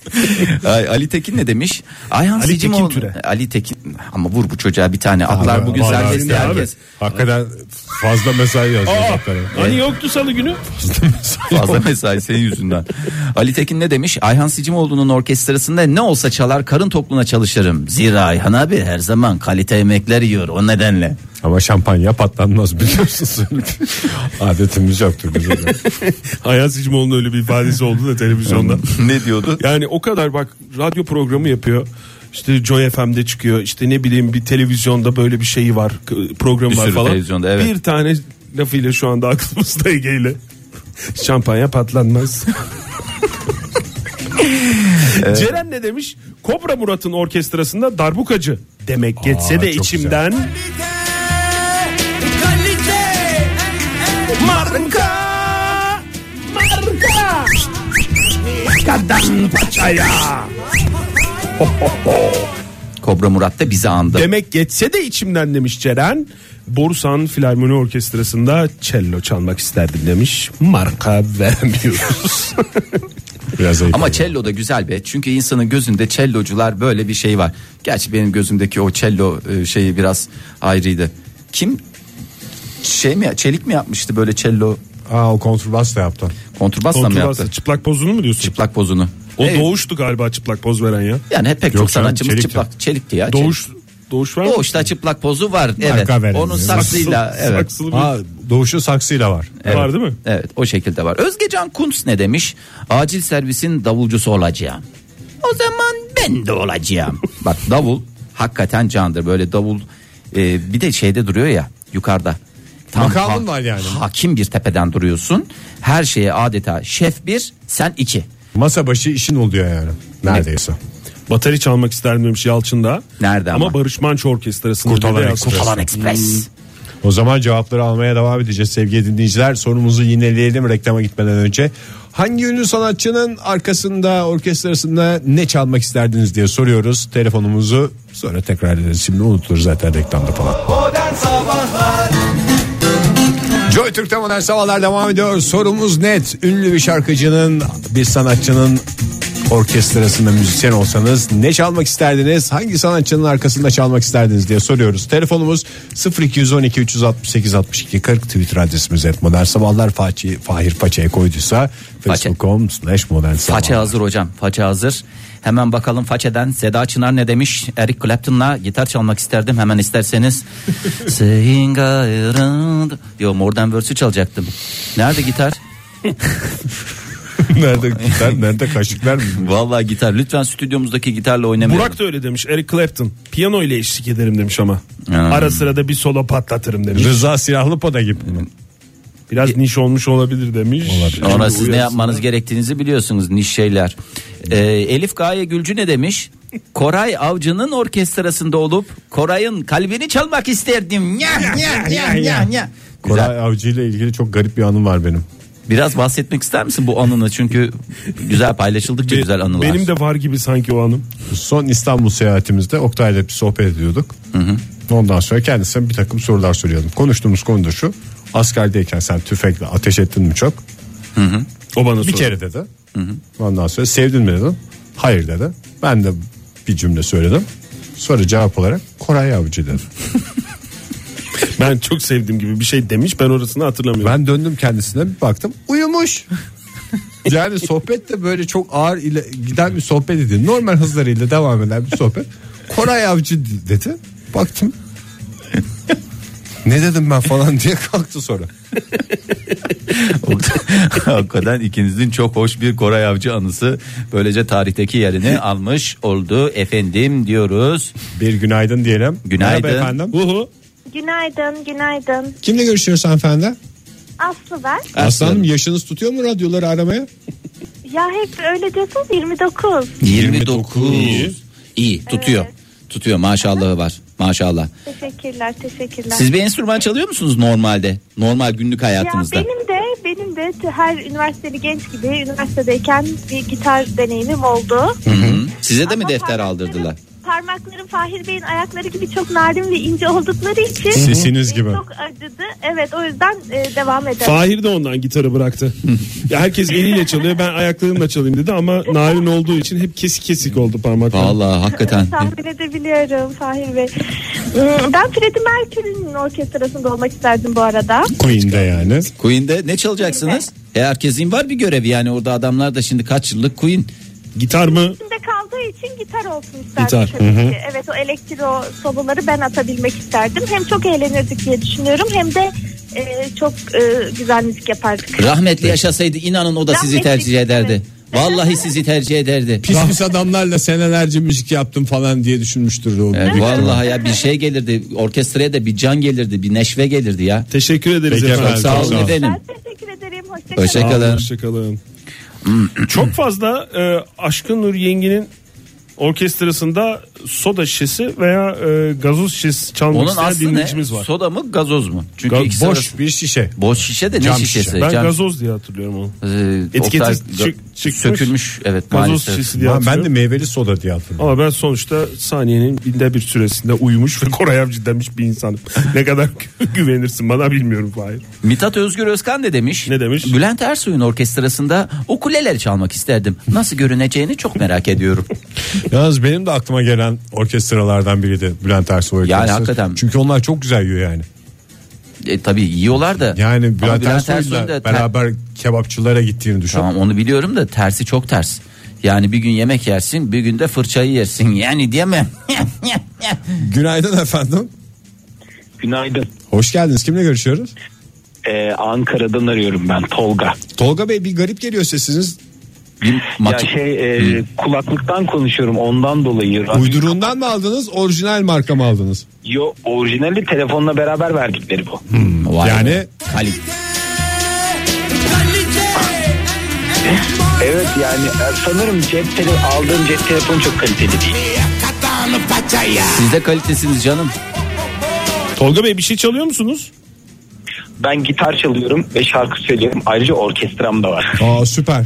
S3: Ay, Ali Tekin ne demiş? Ayhan
S4: Ali
S3: Sicimoğlu-
S4: Tekin Türe.
S3: Ali Tekin ama vur bu çocuğa bir tane atlar
S2: Abi,
S3: bugün
S2: vallahi
S3: serbest
S2: abi.
S3: herkes.
S2: Hakikaten fazla mesai yazıyor
S4: Aa,
S2: zaten.
S4: hani yoktu salı günü?
S3: Fazla mesai senin yüzünden. Ali Tekin ne demiş? Ayhan Sicimoğlu'nun orkestrasında ne olsa çalar karın topluna çalışırım. Zira Ayhan abi her zaman kalite yemekler yiyor o nedenle.
S2: Ama şampanya patlanmaz biliyorsunuz. Adetimiz yoktur bizim. de.
S4: Hayat Sicimoğlu'nun öyle bir ifadesi oldu da televizyonda.
S3: ne diyordu?
S4: Yani o kadar bak radyo programı yapıyor. İşte Joy FM'de çıkıyor. İşte ne bileyim bir televizyonda böyle bir şeyi var. k- Programı
S3: Bir
S4: var
S3: sürü
S4: falan.
S3: televizyonda, evet.
S4: Bir tane lafıyla şu anda aklımızda Ege'yle. Şampanya patlanmaz. Ceren ne demiş? Kobra Murat'ın orkestrasında darbukacı demek geçse de
S2: çok
S4: içimden. Marka! Marka! Markadan paçaya!
S3: Kobra Murat da bizi andı.
S4: Demek geçse de içimden demiş Ceren. Borusan Filarmoni Orkestrası'nda cello çalmak isterdim demiş. Marka vermiyoruz.
S2: Biraz ayıp.
S3: Ama cello da güzel be. Çünkü insanın gözünde cellocular böyle bir şey var. Gerçi benim gözümdeki o cello e, şeyi biraz ayrıydı. Kim şey mi çelik mi yapmıştı böyle cello
S2: Aa o kontrbas da yaptı.
S3: kontrbasla mı yaptı?
S4: Kontrbasla çıplak pozunu mu diyorsun?
S3: Çıplak pozunu.
S4: O
S3: Evet.
S4: doğuştu galiba çıplak poz veren ya.
S3: Yani hep pek
S2: Yok
S3: çok
S2: canım,
S3: sanatçımız
S2: çelikti.
S3: çıplak çelikti ya.
S4: Doğuş doğuş var
S3: Çelik.
S4: mı?
S3: Doğuşta çıplak pozu var. Evet.
S2: Marka verelim.
S3: Onun
S2: Saksılı-
S3: saksıyla
S4: Saksı-
S3: evet.
S4: saksılı bir-
S2: Aa doğuşun saksıyla var.
S4: Var değil mi?
S3: Evet o şekilde var. Özgecan Kuntz ne demiş? Acil servisin davulcusu olacağım. O zaman ben de olacağım. Bak davul hakikaten candır. Böyle davul e, bir de şeyde duruyor ya yukarıda. Tam
S2: Makamın var yani.
S3: Hakim bir tepeden duruyorsun. Her şeye adeta şef bir sen iki.
S2: Masa başı işin oluyor yani. Neredeyse.
S4: Bateri çalmak isterdim demiş Yalçın'da.
S3: Nerede ama?
S4: Ama Barış Manço Orkestrası'nda.
S2: Kurtalan
S4: dedi ya,
S2: Ekspres.
S3: Falan Express.
S2: O zaman cevapları almaya devam edeceğiz sevgili dinleyiciler. Sorumuzu yineleyelim reklama gitmeden önce. Hangi ünlü sanatçının arkasında, orkestrasında ne çalmak isterdiniz diye soruyoruz. Telefonumuzu sonra tekrar ederiz. Şimdi unutulur zaten reklamda falan. Joy Türk'te modern sabahlar devam ediyor. Sorumuz net. Ünlü bir şarkıcının, bir sanatçının orkestrasında müzisyen olsanız ne çalmak isterdiniz? Hangi sanatçının arkasında çalmak isterdiniz diye soruyoruz. Telefonumuz 0212 368 62 40 Twitter adresimiz et modern sabahlar Façi, Fahir Faça'ya koyduysa facebook.com slash modern
S3: Faça
S2: sabahlar.
S3: hazır hocam. Faça hazır. Hemen bakalım Faça'dan Seda Çınar ne demiş? Eric Clapton'la gitar çalmak isterdim hemen isterseniz. Saying I around. Yo Mordan Verse'ü çalacaktım. Nerede gitar?
S2: nerede, gitar, nerede kaşıklar mı?
S3: Vallahi gitar. Lütfen stüdyomuzdaki gitarla oynamayalım.
S4: Burak da öyle demiş. Eric Clapton. Piyano ile eşlik ederim demiş ama. Ara sıra da bir solo patlatırım demiş.
S2: Rıza Silahlıpada gibi mi?
S4: Biraz niş olmuş olabilir demiş.
S2: Olabilir.
S3: Ona siz ne yapmanız gerektiğinizi biliyorsunuz niş şeyler. Ee, Elif Gaye Gülcü ne demiş? Koray Avcı'nın orkestrasında olup Koray'ın kalbini çalmak isterdim. Ya ya ya ya ya. Güzel.
S2: Koray Avcı ile ilgili çok garip bir anım var benim.
S3: Biraz bahsetmek ister misin bu anını? Çünkü güzel paylaşıldıkça güzel anılar.
S4: Benim de var gibi sanki o anım.
S2: Son İstanbul seyahatimizde Oktay'la bir sohbet ediyorduk. Ondan sonra kendisine bir takım sorular soruyordum. Konuştuğumuz konu da şu. Askerdeyken sen tüfekle ateş ettin mi çok?
S4: O bana
S2: Bir
S4: sordu.
S2: kere dedi. Ondan sonra sevdin mi dedim. Hayır dedi. Ben de bir cümle söyledim. Sonra cevap olarak Koray Avcı dedi.
S4: Ben çok sevdiğim gibi bir şey demiş. Ben orasını hatırlamıyorum.
S2: Ben döndüm kendisine bir baktım uyumuş. yani sohbet de böyle çok ağır ile giden bir sohbet idi. Normal hızlarıyla devam eden bir sohbet. Koray Avcı dedi. Baktım. ne dedim ben falan diye kalktı sonra.
S3: Hakikaten ikinizin çok hoş bir Koray Avcı anısı böylece tarihteki yerini almış oldu efendim diyoruz.
S2: Bir günaydın diyelim.
S3: Günaydın.
S2: Merhaba efendim.
S4: Uhu.
S7: Günaydın, günaydın.
S2: Kimle görüşüyoruz hanımefendi?
S7: Aslı ben.
S2: Aslanım yaşınız tutuyor mu radyoları aramaya?
S7: Ya hep öyle diyorsunuz 29.
S3: 29.
S2: İyi.
S3: İyi tutuyor. Tutuyor maşallahı var. Maşallah.
S7: Teşekkürler, teşekkürler.
S3: Siz bir enstrüman çalıyor musunuz normalde? Normal günlük
S7: ya
S3: hayatınızda.
S7: benim de benim de her üniversiteli genç gibi üniversitedeyken bir gitar deneyimim oldu.
S3: Hı. Size de mi
S7: Ama
S3: defter
S7: parmaklarım-
S3: aldırdılar?
S7: Parmaklarım Fahir Bey'in ayakları gibi çok narin ve ince oldukları için.
S2: Sesiniz
S7: e,
S2: gibi.
S7: Çok acıdı. Evet o yüzden e, devam edelim.
S4: Fahir de ondan gitarı bıraktı. ya herkes eliyle çalıyor ben ayaklarımla çalayım dedi ama narin olduğu için hep kesik kesik oldu parmaklar.
S3: Vallahi hakikaten.
S7: Tahmin edebiliyorum Fahir Bey. Hmm, Ben Freddie Mercury'nin orkestrasında olmak isterdim bu arada.
S2: Queen'de yani.
S3: Queen'de ne çalacaksınız? E, herkesin var bir görevi yani orada adamlar da şimdi kaç yıllık Queen.
S4: Gitar mı?
S7: içinde kaldığı için gitar olsun isterdim
S4: Gitar,
S7: tabii ki. Evet o elektro soloları ben atabilmek isterdim. Hem çok eğlenirdik diye düşünüyorum hem de e, çok e, güzel müzik yapardık.
S3: Rahmetli yaşasaydı inanın o da sizi
S7: Rahmetli,
S3: tercih ederdi.
S7: evet.
S3: Vallahi sizi tercih ederdi.
S2: Pis pis adamlarla senelerce müzik yaptım falan diye düşünmüştür o.
S3: E, vallahi ya bir şey gelirdi. Orkestraya da bir can gelirdi, bir neşve gelirdi ya.
S4: Teşekkür ederiz
S2: Peki
S4: efendim.
S2: efendim,
S3: Sağ
S2: çok
S3: olun efendim.
S7: Ben teşekkür ederim. Hoşçakalın.
S3: Hoşça
S4: Sağ olun,
S3: kalın.
S4: Hoşçakalın. Çok fazla e, Aşkın Nur Yengi'nin orkestrasında soda şişesi veya e, gazoz şişesi çalmak
S3: Onun
S4: isteyen
S3: aslında
S4: dinleyicimiz var.
S3: soda mı gazoz mu? Çünkü
S4: Ga-
S3: ikisi
S4: boş
S3: arası-
S2: Bir şişe.
S3: boş şişe de ne
S2: Cam şişe.
S3: şişesi?
S4: Ben
S3: Cam-
S4: gazoz diye hatırlıyorum onu.
S3: Ee,
S4: Etiketi
S3: Oktay-
S4: çık- çıkmış.
S3: sökülmüş evet
S4: Gazoz
S3: maalesef.
S4: şişesi diye
S2: Ben, ben
S4: hatırlıyorum.
S2: de meyveli soda diye hatırlıyorum.
S4: Ama ben sonuçta saniyenin binde bir süresinde uyumuş ve Koray Avcı demiş bir insanım. ne kadar güvenirsin bana bilmiyorum Fahir.
S3: Mithat Özgür Özkan de demiş.
S4: Ne demiş?
S3: Bülent Ersoy'un orkestrasında ukulele çalmak isterdim. Nasıl görüneceğini çok merak ediyorum.
S2: Yalnız benim de aklıma gelen orkestralardan biriydi Bülent Ersoy orkestrası.
S3: hakikaten.
S2: Çünkü onlar çok güzel yiyor yani.
S3: e, tabii yiyorlar da. Ama
S2: Yani Bülent, Ersoy'la
S3: Ersoy'un da ter-
S2: beraber kebapçılara gittiğini düşün.
S3: Tamam onu biliyorum da tersi çok ters. Yani bir gün yemek yersin bir gün de fırçayı yersin. Yani diyemem.
S2: Günaydın efendim.
S8: Günaydın.
S2: Hoş geldiniz. Kimle görüşüyoruz?
S8: Ee, Ankara'dan arıyorum ben Tolga.
S2: Tolga Bey bir garip geliyor sesiniz.
S3: Bir mak-
S8: Ya şey e, kulaklıktan konuşuyorum ondan dolayı.
S2: Uyduruğundan mı aldınız, orijinal marka mı aldınız?
S8: Yo orijinali telefonla beraber verdikleri bu.
S3: Vay be.
S2: Yani
S3: Halit.
S8: Evet yani e, sanırım cep tele aldığım cep telefonu çok kaliteli değil.
S3: Siz de kalitesiniz canım.
S4: Tolga Bey bir şey çalıyor musunuz?
S8: Ben gitar çalıyorum ve şarkı söylüyorum. Ayrıca orkestram da var.
S2: aa süper.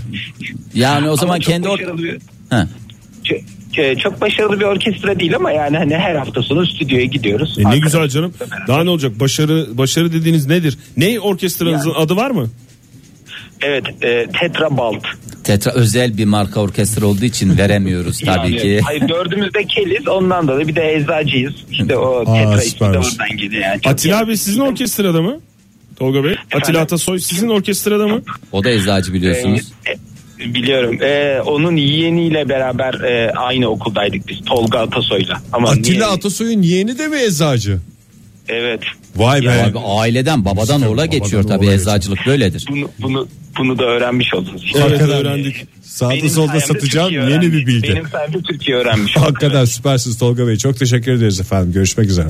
S3: Yani o zaman
S8: Ama çok
S3: kendi or-
S8: başarılı bir-
S3: Ha.
S8: Ç- ç- e, çok başarılı bir orkestra değil ama yani hani her hafta sonu stüdyoya gidiyoruz.
S4: E ne
S8: Arkadaşlar-
S4: güzel canım. Daha ne olacak? Başarı başarı dediğiniz nedir? Ne orkestranızın adı var mı?
S8: Evet e, Tetra Balt.
S3: Tetra özel bir marka orkestra olduğu için veremiyoruz tabii
S8: Yani,
S3: ki.
S8: Hayır dördümüz de keliz ondan dolayı bir de eczacıyız. İşte o
S2: Aa,
S8: tetra işte de
S2: süpermiş.
S8: oradan geliyor. Yani. Çok
S4: Atilla abi sizin orkestrada mı? Tolga Bey. Atilla Atasoy sizin orkestrada mı?
S3: O da eczacı biliyorsunuz.
S8: Ee, e, biliyorum. Ee, onun yeğeniyle beraber e, aynı okuldaydık biz. Tolga Atasoy'la. Ama niye-
S2: Atilla Atasoy'un yeğeni de mi eczacı?
S8: Evet.
S2: Vay be.
S3: Abi aileden babadan
S2: Tabii,
S3: oğula
S2: babadan
S3: geçiyor
S2: oğula
S3: tabii
S2: geçiyor.
S3: eczacılık böyledir.
S8: Bunu bunu bunu da öğrenmiş oldunuz.
S4: Evet,
S2: Hakikaten.
S4: öğrendik.
S2: Sağda
S8: Benim
S2: solda
S8: sayemde
S2: satacağım
S8: Türkiye
S2: yeni
S8: öğrenmiş.
S2: bir bilgi.
S8: Benim sayemde Türkiye öğrenmiş. oldu.
S2: Hakikaten süpersiniz Tolga Bey. Çok teşekkür ederiz efendim. Görüşmek üzere.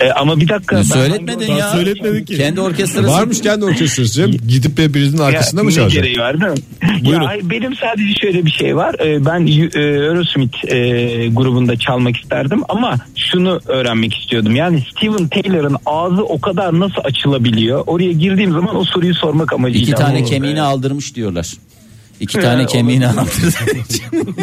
S8: Ee, ama bir dakika. ben-
S3: Söyletmedin ya.
S4: söyletmedik ki.
S3: Kendi orkestrası.
S2: Varmış kendi orkestrası. Gidip de birinin arkasında
S8: Ya,
S2: mı
S8: ne
S2: çalacak?
S8: gereği var değil mi?
S2: Buyurun.
S8: Ya, hayır, benim sadece şöyle bir şey var. Ee, Ben y- e, Aerosmith e, grubunda çalmak isterdim ama şunu öğrenmek istiyordum. Yani Steven Taylor'ın ağzı o kadar nasıl açılabiliyor? Oraya girdiğim zaman o soruyu sormak amacıyla.
S3: İki tane
S8: Ama-
S3: kemiğini aldırmış diyorlar. İki tane kemiğini aldırdığı için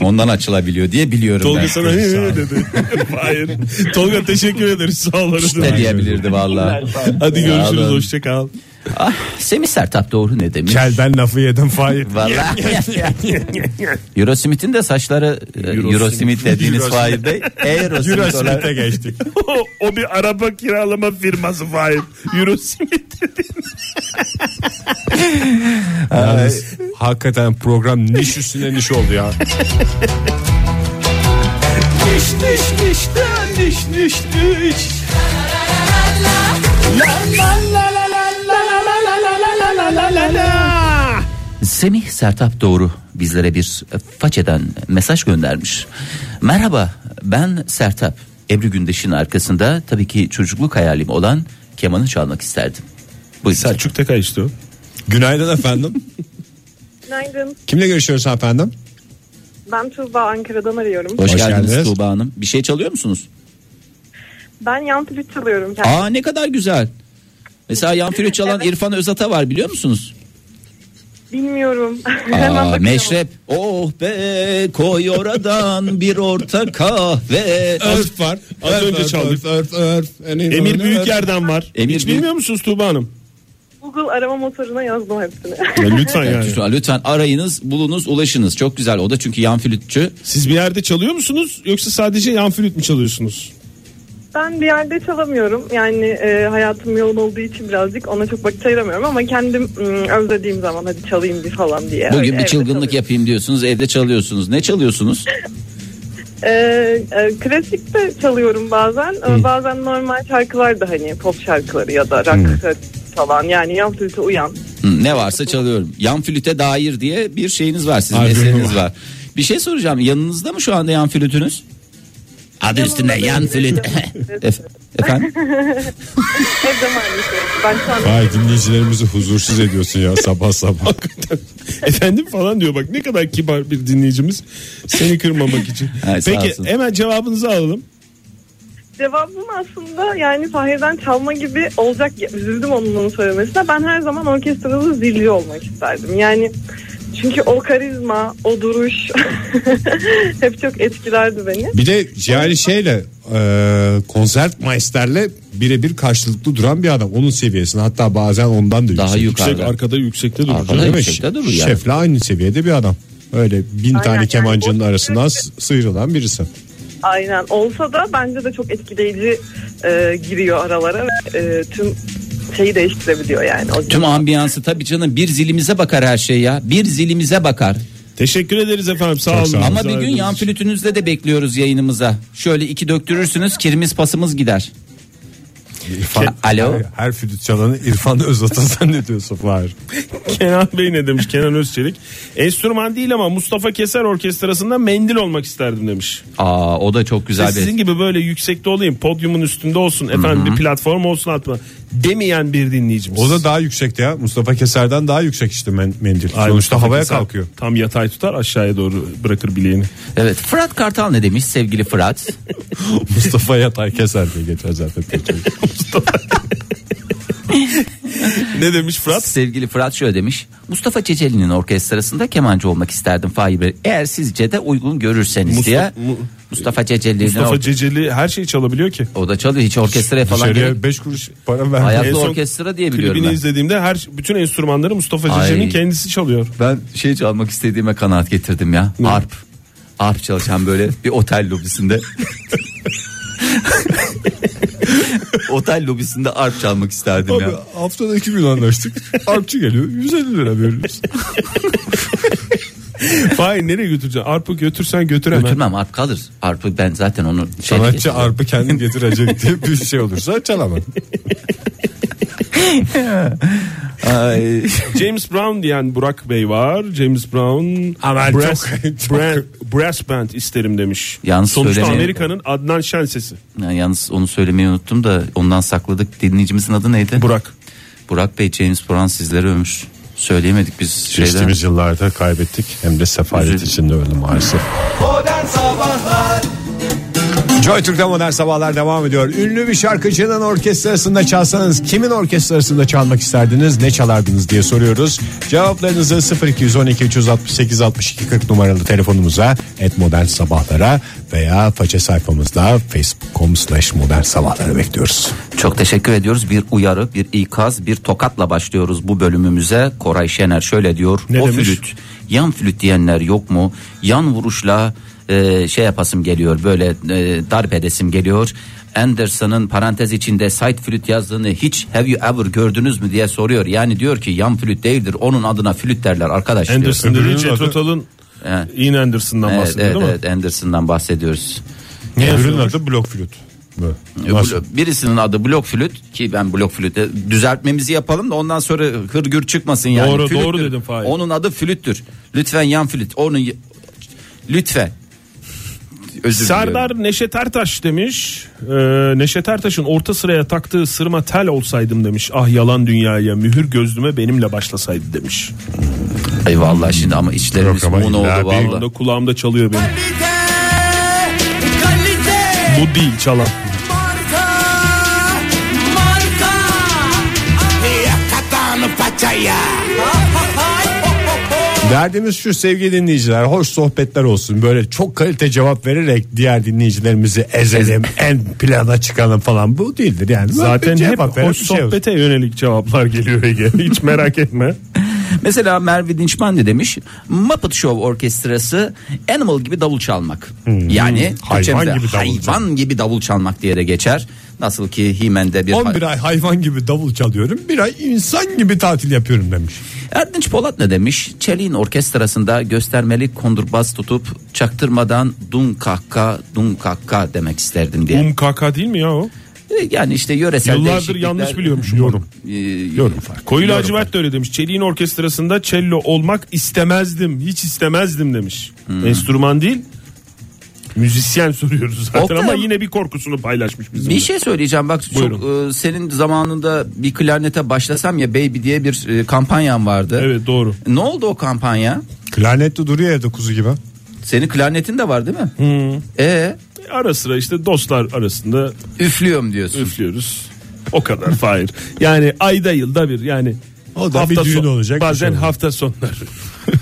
S3: ondan açılabiliyor diye biliyorum
S4: Tolga
S3: ben.
S4: sana "Hı hı" dedi. Hayır. Tolga teşekkür ederiz. Sağ
S3: Hiç
S4: olasın.
S3: de diyebilirdi valla.
S4: Hadi görüşürüz.
S3: Alın.
S4: Hoşçakal.
S3: Ah, Semih Sertap doğru ne demiş?
S2: Kelden lafı yedim Fahir.
S3: Valla. Eurosmith'in de saçları e, Eurosmith dediğiniz
S2: Eurosmith.
S3: Fahir Bey. Eurosmith olarak-
S2: Eurosmith'e geçtik.
S4: o, o bir araba kiralama firması Fahir. Eurosimit
S2: Yalnız hakikaten program niş üstüne niş oldu ya. Niş niş niş de, niş niş niş.
S3: Semih Sertap Doğru bizlere bir façeden mesaj göndermiş. Merhaba ben Sertap. Ebru Gündeş'in arkasında tabii ki çocukluk hayalim olan kemanı çalmak isterdim. Buyurun.
S4: Selçuk Tekay işte o.
S2: Günaydın efendim.
S9: Günaydın.
S2: Kimle görüşüyoruz efendim?
S9: Ben Tuğba Ankara'dan arıyorum.
S3: Hoş,
S2: Hoş
S3: geldiniz,
S2: geldiniz.
S3: Tuğba Hanım. Bir şey çalıyor musunuz?
S9: Ben yan flüt çalıyorum. Yani
S3: Aa ne kadar güzel. Mesela yan flüt çalan İrfan Özata var biliyor musunuz?
S9: bilmiyorum. Hemen
S3: Aa,
S9: bakacağım.
S3: meşrep. Oh be koy oradan bir orta kahve.
S2: Örf var.
S4: Az önce
S2: Örf,
S4: çaldık.
S2: örf, örf. En iyi
S4: Emir
S2: örf.
S4: Büyüker'den var.
S3: Emir
S4: Hiç
S3: Büyük-
S4: bilmiyor musunuz Tuğba Hanım?
S9: Google arama motoruna yazdım hepsini.
S4: Ya lütfen yani.
S3: Lütfen, lütfen arayınız, bulunuz, ulaşınız. Çok güzel. O da çünkü yan flütçü.
S4: Siz bir yerde çalıyor musunuz yoksa sadece yan flüt mü çalıyorsunuz?
S9: ben bir yerde çalamıyorum. Yani e, hayatım yoğun olduğu için birazcık ona çok vakit ayıramıyorum ama kendim ım, özlediğim zaman hadi çalayım bir falan diye.
S3: Bugün
S9: Öyle
S3: bir
S9: evde
S3: çılgınlık
S9: çalıyorum.
S3: yapayım diyorsunuz, evde çalıyorsunuz. Ne çalıyorsunuz?
S9: E, e, klasik de çalıyorum bazen. E, Bazen normal şarkılar da hani pop şarkıları ya da rock çalan yani yan flüte uyan.
S3: Hı, ne varsa çalıyorum. Yan flüte dair diye bir şeyiniz var, sizin
S2: Albümü
S3: eseriniz
S2: var.
S3: var. Bir şey soracağım. Yanınızda mı şu anda yan flütünüz? Adı üstünde yan flüt. Ef- Efendim?
S9: Evde maalesef. Ben şu an
S2: Vay dinleyicilerimizi huzursuz ediyorsun ya sabah sabah.
S4: Efendim falan diyor bak ne kadar kibar bir dinleyicimiz seni kırmamak için.
S3: Ay, sağ
S4: Peki
S3: olsun.
S4: hemen cevabınızı alalım.
S9: Cevabım aslında yani Fahir'den çalma gibi olacak. Üzüldüm onun bunu söylemesine. Ben her zaman orkestralı zilli olmak isterdim. Yani çünkü o karizma, o duruş hep çok etkilerdi beni.
S2: Bir de yani şeyle e, konsert maisterle birebir karşılıklı duran bir adam. Onun seviyesine hatta bazen ondan da
S3: Daha
S2: yüksek.
S3: yukarıda.
S2: Yüksek arkada yüksekte durur.
S3: Arkada
S2: Değil mi?
S3: yüksekte durur
S2: Ş-
S3: yani.
S2: Şefle aynı seviyede bir adam. Öyle bin
S9: Aynen,
S2: tane
S9: yani
S2: kemancının
S9: o-
S2: arasından s- sıyrılan birisi.
S9: Aynen olsa da bence de çok etkileyici e, giriyor aralara ve e, tüm şeyi değiştirebiliyor yani. O
S3: Tüm ambiyansı tabii canım bir zilimize bakar her şey ya. Bir zilimize bakar.
S4: Teşekkür ederiz efendim sağ olun.
S2: sağ olun.
S3: Ama
S4: Bizi
S3: bir gün
S4: aradığınız
S3: yan
S4: için.
S3: flütünüzle de bekliyoruz yayınımıza. Şöyle iki döktürürsünüz kirimiz pasımız gider. Alo.
S2: Her flüt çalanı İrfan Özat'ı zannediyorsun Fahir.
S4: Kenan Bey ne demiş Kenan Özçelik. Enstrüman değil ama Mustafa Keser Orkestrası'nda mendil olmak isterdim demiş.
S3: Aa o da çok güzel bir.
S4: Sizin gibi böyle yüksekte olayım podyumun üstünde olsun efendim bir platform olsun atma demeyen bir dinleyicimiz.
S2: O da daha yüksekti ya. Mustafa Keser'den daha yüksek işte men- mendil.
S4: Ay,
S2: Sonuçta
S4: Mustafa
S2: havaya
S4: Keser
S2: kalkıyor.
S4: Tam yatay tutar aşağıya doğru bırakır bileğini.
S3: Evet Fırat Kartal ne demiş sevgili Fırat?
S2: Mustafa Yatay Keser diye geçer zaten.
S4: Ne demiş Fırat?
S3: Sevgili Fırat şöyle demiş. Mustafa Ceceli'nin orkestrasında kemancı olmak isterdim Fahir Bey. Eğer sizce de uygun görürseniz
S4: Mustafa-
S3: diye.
S4: Mu-
S3: Mustafa Ceceli'nin
S4: Mustafa
S3: or-
S4: Ceceli her şeyi çalabiliyor ki.
S3: o da çalıyor hiç orkestraya falan gerek.
S2: Dışarıya 5 kuruş para vermeye
S3: Ayaklı
S4: En son
S3: orkestra diye biliyorum
S4: Klibini
S3: ben.
S4: izlediğimde her bütün enstrümanları Mustafa
S3: Ay.
S4: Ceceli'nin kendisi çalıyor.
S3: Ben şey çalmak istediğime kanaat getirdim ya. Arp. Arp çalışan böyle bir otel lobisinde. otel lobisinde arp çalmak isterdim
S2: Abi haftada iki gün anlaştık. Arpçı geliyor 150 lira veriyoruz.
S4: Fahir nereye götüreceksin? Arpa götürsen götür hemen.
S3: Götürmem arp kalır. Arpı ben zaten onu şey- şeyle
S2: Sanatçı
S3: getiririm.
S2: arpı kendin getirecek diye bir şey olursa çalamam.
S3: Ay.
S4: James Brown diyen Burak Bey var. James Brown
S2: Ama
S4: brass,
S2: çok- çok-
S4: bra- brass band isterim demiş.
S3: Yalnız
S4: Sonuçta
S3: söylemeyelim.
S4: Amerika'nın Adnan Şen sesi.
S3: Ya Yalnız onu söylemeyi unuttum da ondan sakladık. Dinleyicimizin adı neydi?
S4: Burak.
S3: Burak Bey James Brown sizlere övmüş. Söyleyemedik biz şeyden.
S2: Geçtiğimiz yıllarda kaybettik hem de sefalet
S3: Üzüldüm.
S2: içinde öldü maalesef. Joy Türk'te modern sabahlar devam ediyor. Ünlü bir şarkıcının orkestrasında çalsanız kimin orkestrasında çalmak isterdiniz ne çalardınız diye soruyoruz. Cevaplarınızı 0212 368 62 40 numaralı telefonumuza et modern sabahlara veya faça sayfamızda facebook.com slash modern sabahlara bekliyoruz.
S3: Çok teşekkür ediyoruz. Bir uyarı, bir ikaz, bir tokatla başlıyoruz bu bölümümüze. Koray Şener şöyle diyor.
S4: Ne
S3: o
S4: demiş?
S3: flüt, yan flüt diyenler yok mu? Yan vuruşla e, şey yapasım geliyor. Böyle e, darp edesim geliyor. Anderson'ın parantez içinde side flüt yazdığını hiç have you ever gördünüz mü diye soruyor. Yani diyor ki yan flüt değildir. Onun adına flüt derler arkadaş diyor.
S4: Anderson
S2: Öbürünün
S4: dediği Jet
S2: adı-
S4: Total'ın
S3: Evet.
S4: Ian Anderson'dan
S3: Evet,
S4: bahsediyor
S3: evet,
S4: değil mi?
S3: evet, Anderson'dan bahsediyoruz. Ne
S2: Öbürünün
S3: yazıyormuş?
S2: adı blok flüt. Böyle.
S3: E, blo-
S2: Nasıl?
S3: Birisinin adı blok flüt ki ben blok flüte düzeltmemizi yapalım da ondan sonra hırgür çıkmasın yani.
S4: Doğru,
S3: Flüttür.
S4: doğru dedim Fahir.
S3: Onun adı flüttür. Lütfen yan flüt. Onun y- lütfen. Özür diliyorum.
S4: Serdar Neşet Ertaş demiş. Ee, Neşet Ertaş'ın orta sıraya taktığı sırma tel olsaydım demiş. Ah yalan dünyaya mühür gözlüme benimle başlasaydı demiş.
S3: Ay vallahi şimdi ama içlerimiz
S2: Yok ama
S3: un oldu
S2: illa bir-
S3: vallahi.
S4: Bunda kulağımda çalıyor benim. Bu değil çalan.
S2: Derdimiz şu sevgili dinleyiciler hoş sohbetler olsun böyle çok kalite cevap vererek diğer dinleyicilerimizi ezelim en plana çıkalım falan bu değildir yani. Böyle
S4: Zaten
S2: bir
S4: hep
S2: cevap veren
S4: hoş
S2: bir şey olsun.
S4: sohbete yönelik cevaplar geliyor Ege. Hiç merak etme.
S3: Mesela Merve Dinçman ne demiş? Muppet Show orkestrası Animal gibi davul çalmak. Yani
S2: Hayvan
S3: Türkçemizde
S2: gibi davul
S3: hayvan
S2: çalmak.
S3: gibi davul çalmak diye de geçer. Nasıl ki Himen'de bir
S2: 11 ay hayvan gibi davul çalıyorum bir ay insan gibi tatil yapıyorum demiş.
S3: Erdinç Polat ne demiş? Çelik'in orkestrasında göstermeli kondurbaz tutup çaktırmadan dun kakka dun kakka demek isterdim diye.
S4: Um kaka değil mi ya o?
S3: E, Yani işte yöresel
S4: Yıllardır
S3: değişiklikler-
S4: yanlış biliyormuşum. Yorum.
S3: E,
S4: Yorum fark. Koyu
S3: Yorum
S4: lacivert de öyle demiş. Çeliğin orkestrasında cello olmak istemezdim. Hiç istemezdim demiş.
S2: Hmm.
S4: Enstrüman değil. Müzisyen soruyoruz zaten
S3: Oktay-
S4: ama yine bir korkusunu paylaşmış bizimle.
S3: Bir şey söyleyeceğim bak çok
S4: Buyurun.
S3: e, senin zamanında bir klarnete başlasam ya baby diye bir e, kampanyan vardı.
S4: Evet doğru.
S3: Ne oldu o kampanya?
S2: Klarnetli duruyor evde kuzu gibi.
S3: Senin klarnetin de var değil mi?
S2: Hmm.
S3: E
S4: Ara sıra işte dostlar arasında
S3: üflüyorum diyorsun.
S4: üflüyoruz. O kadar Fahir. Yani ayda yılda bir yani
S2: O da bir düğün olacak, bir şey
S4: Bazen
S2: olacak.
S4: hafta sonları.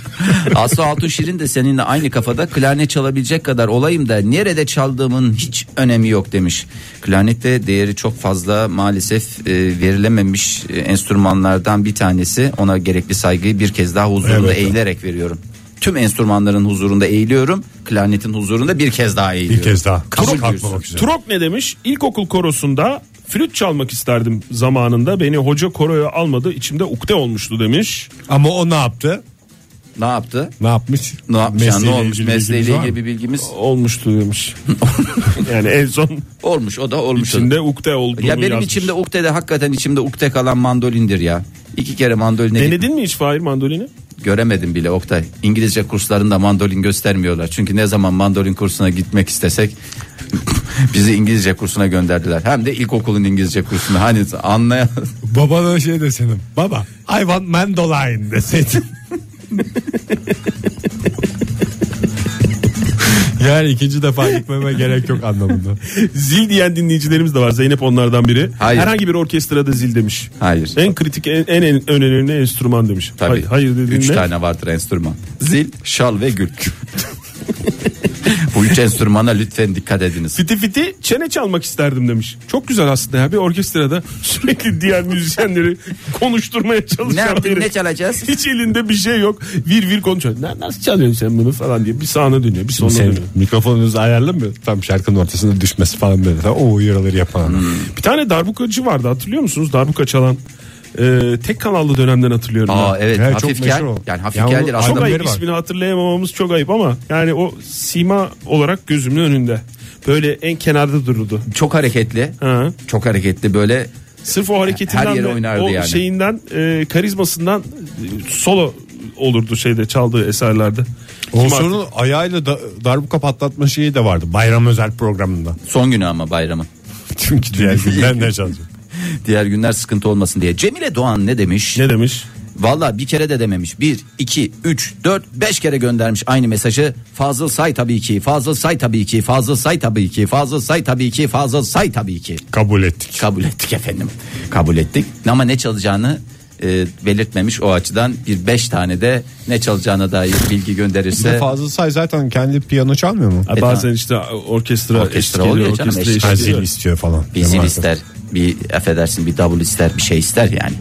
S3: Aslı Altun Şirin de seninle aynı kafada klarnet çalabilecek kadar olayım da nerede çaldığımın hiç önemi yok demiş. Klarnette değeri çok fazla maalesef e, verilememiş e, enstrümanlardan bir tanesi. Ona gerekli saygıyı bir kez daha huzurunda eğilerek veriyorum. Tüm enstrümanların huzurunda eğiliyorum. Klarnetin huzurunda bir kez daha eğiliyorum.
S2: Bir kez daha.
S3: Kabul
S2: Kalkmamak
S3: buyursun.
S2: üzere.
S4: Turok ne demiş? İlkokul korosunda flüt çalmak isterdim zamanında. Beni hoca koroya almadı. içimde ukde olmuştu demiş.
S2: Ama o ne yaptı?
S3: Ne yaptı?
S2: Ne yapmış?
S3: Ne yapmış? yani? Ne
S2: Mesleğiyle ilgili bilgimiz var
S3: olmuş? Mesleğiyle
S2: mı?
S3: ilgili bir bilgimiz
S4: Olmuştu demiş. yani en son
S3: olmuş. O da olmuş. o da.
S4: içinde ukde olduğunu
S3: Ya benim
S4: yazmış.
S3: içimde ukde de hakikaten içimde ukde kalan mandolindir ya. İki kere mandoline
S4: Denedin mi hiç Fahir mandolini?
S3: Göremedim bile Oktay. İngilizce kurslarında mandolin göstermiyorlar. Çünkü ne zaman mandolin kursuna gitmek istesek bizi İngilizce kursuna gönderdiler. Hem de ilkokulun İngilizce kursuna. Hani anlayan
S2: Babana şey desenim. Baba I want mandoline deseydin. yani ikinci defa gitmeme gerek yok anlamında.
S4: Zil diyen dinleyicilerimiz de var. Zeynep onlardan biri.
S3: Hayır.
S4: Herhangi bir orkestrada zil demiş.
S3: Hayır.
S4: En kritik en, en, en önemli enstrüman demiş.
S3: tabii.
S4: Hayır, hayır dediğinde.
S3: Üç tane vardır enstrüman. Zil, şal ve gül. Bu üç enstrümana lütfen dikkat ediniz.
S4: Fiti fiti çene çalmak isterdim demiş. Çok güzel aslında ya bir orkestrada sürekli diğer müzisyenleri konuşturmaya
S3: Ne
S4: çalışan
S3: yaptık
S4: biri.
S3: ne çalacağız?
S4: Hiç elinde bir şey yok. Vir vir konuşuyor. "Ne- Nasıl çalıyorsun sen bunu falan diye. Bir sağına dönüyor bir soluna
S2: Senin
S4: dönüyor.
S2: mikrofonunuzu ayarlı mı? Tam şarkının ortasında düşmesi falan böyle. O uyarıları yapan.
S4: Bir tane darbukacı vardı hatırlıyor musunuz? Darbuka çalan. Ee, tek kanallı dönemden hatırlıyorum.
S3: Aa
S4: ben.
S3: evet,
S2: Evet, çok
S3: hafif gel.
S2: meşhur o.
S3: Yani hafif
S2: Ya
S3: gel
S2: onu-
S3: değil,
S2: çok
S3: aslında
S4: Çok ayıp
S2: adamları var.
S4: ismini hatırlayamamamız çok ayıp ama yani o sima olarak gözümün önünde. Böyle en kenarda dururdu.
S3: çok hareketli.
S4: Ha.
S3: Çok hareketli böyle
S4: Sırf o hareketinden
S3: Her yere
S4: ve
S3: oynardı
S4: o
S3: yani.
S4: şeyinden e, karizmasından e, solo olurdu şeyde çaldığı eserlerde. Kim artık-
S2: Onsur'un ayağıyla da, darbuka patlatma şeyi de vardı. Bayram özel programında.
S3: son günü ama bayramın.
S2: Çünkü diğer günler ne çalacak?
S3: Diğer günler sıkıntı olmasın diye. Cemile Doğan ne demiş?
S4: ne demiş?
S3: Valla bir kere de dememiş. Bir, iki, üç, dört, beş kere göndermiş aynı mesajı. Fazıl say tabii ki, Fazıl say tabii ki, Fazıl say tabii ki, Fazıl say tabii ki, Fazıl say tabii ki.
S2: Kabul ettik.
S3: Kabul ettik efendim. Kabul ettik. Ama ne çalacağını e, belirtmemiş o açıdan bir beş tane de ne çalacağına dair bilgi gönderirse.
S2: Fazıl Say zaten kendi piyano çalmıyor mu?
S4: Ha,
S3: E,
S4: bazen işte orkestra,
S3: Orkestra
S4: eşlik
S3: oluyor
S4: ediyor,
S3: canım,
S4: orkestra
S3: eşlik
S4: eşlik
S2: Zil
S4: ediyor.
S2: şey istiyor falan.
S3: Bir zil
S2: Değil mi?
S3: ister, bir affedersin bir davul ister, bir şey ister yani.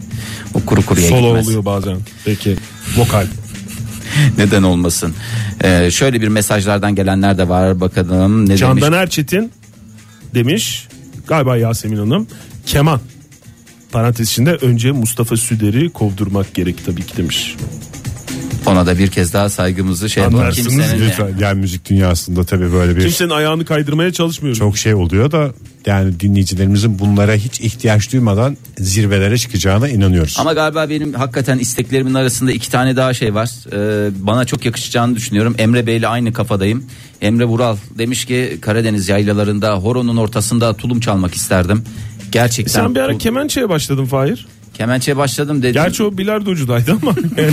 S3: Bu kuru kuruya
S4: Solo
S3: gitmez.
S4: oluyor bazen. Peki.
S2: Vokal.
S3: Neden olmasın? E, şöyle bir mesajlardan gelenler de var bakalım. Ne demiş?
S4: Candan Erçetin demiş galiba Yasemin Hanım keman parantez içinde önce Mustafa Süder'i kovdurmak gerek tabii ki demiş.
S3: Ona da bir kez daha saygımızı şey yapalım.
S2: Anlarsınız
S3: Kimsenin
S2: lütfen. Yani müzik dünyasında tabii böyle bir
S4: Kimsenin ayağını kaydırmaya çalışmıyoruz.
S2: çok şey oluyor da yani dinleyicilerimizin bunlara hiç ihtiyaç duymadan zirvelere çıkacağına inanıyoruz.
S3: Ama galiba benim hakikaten isteklerimin arasında iki tane daha şey var. Ee, bana çok yakışacağını düşünüyorum. Emre Bey'le aynı kafadayım. Emre Vural demiş ki Karadeniz yaylalarında horonun ortasında tulum çalmak isterdim. Gerçekten.
S4: Sen bir ara
S3: bu-
S4: kemençeye başladın Fahir.
S3: kemençeye başladım dedim.
S4: Gerçi o bilardocudaydı ama. yani.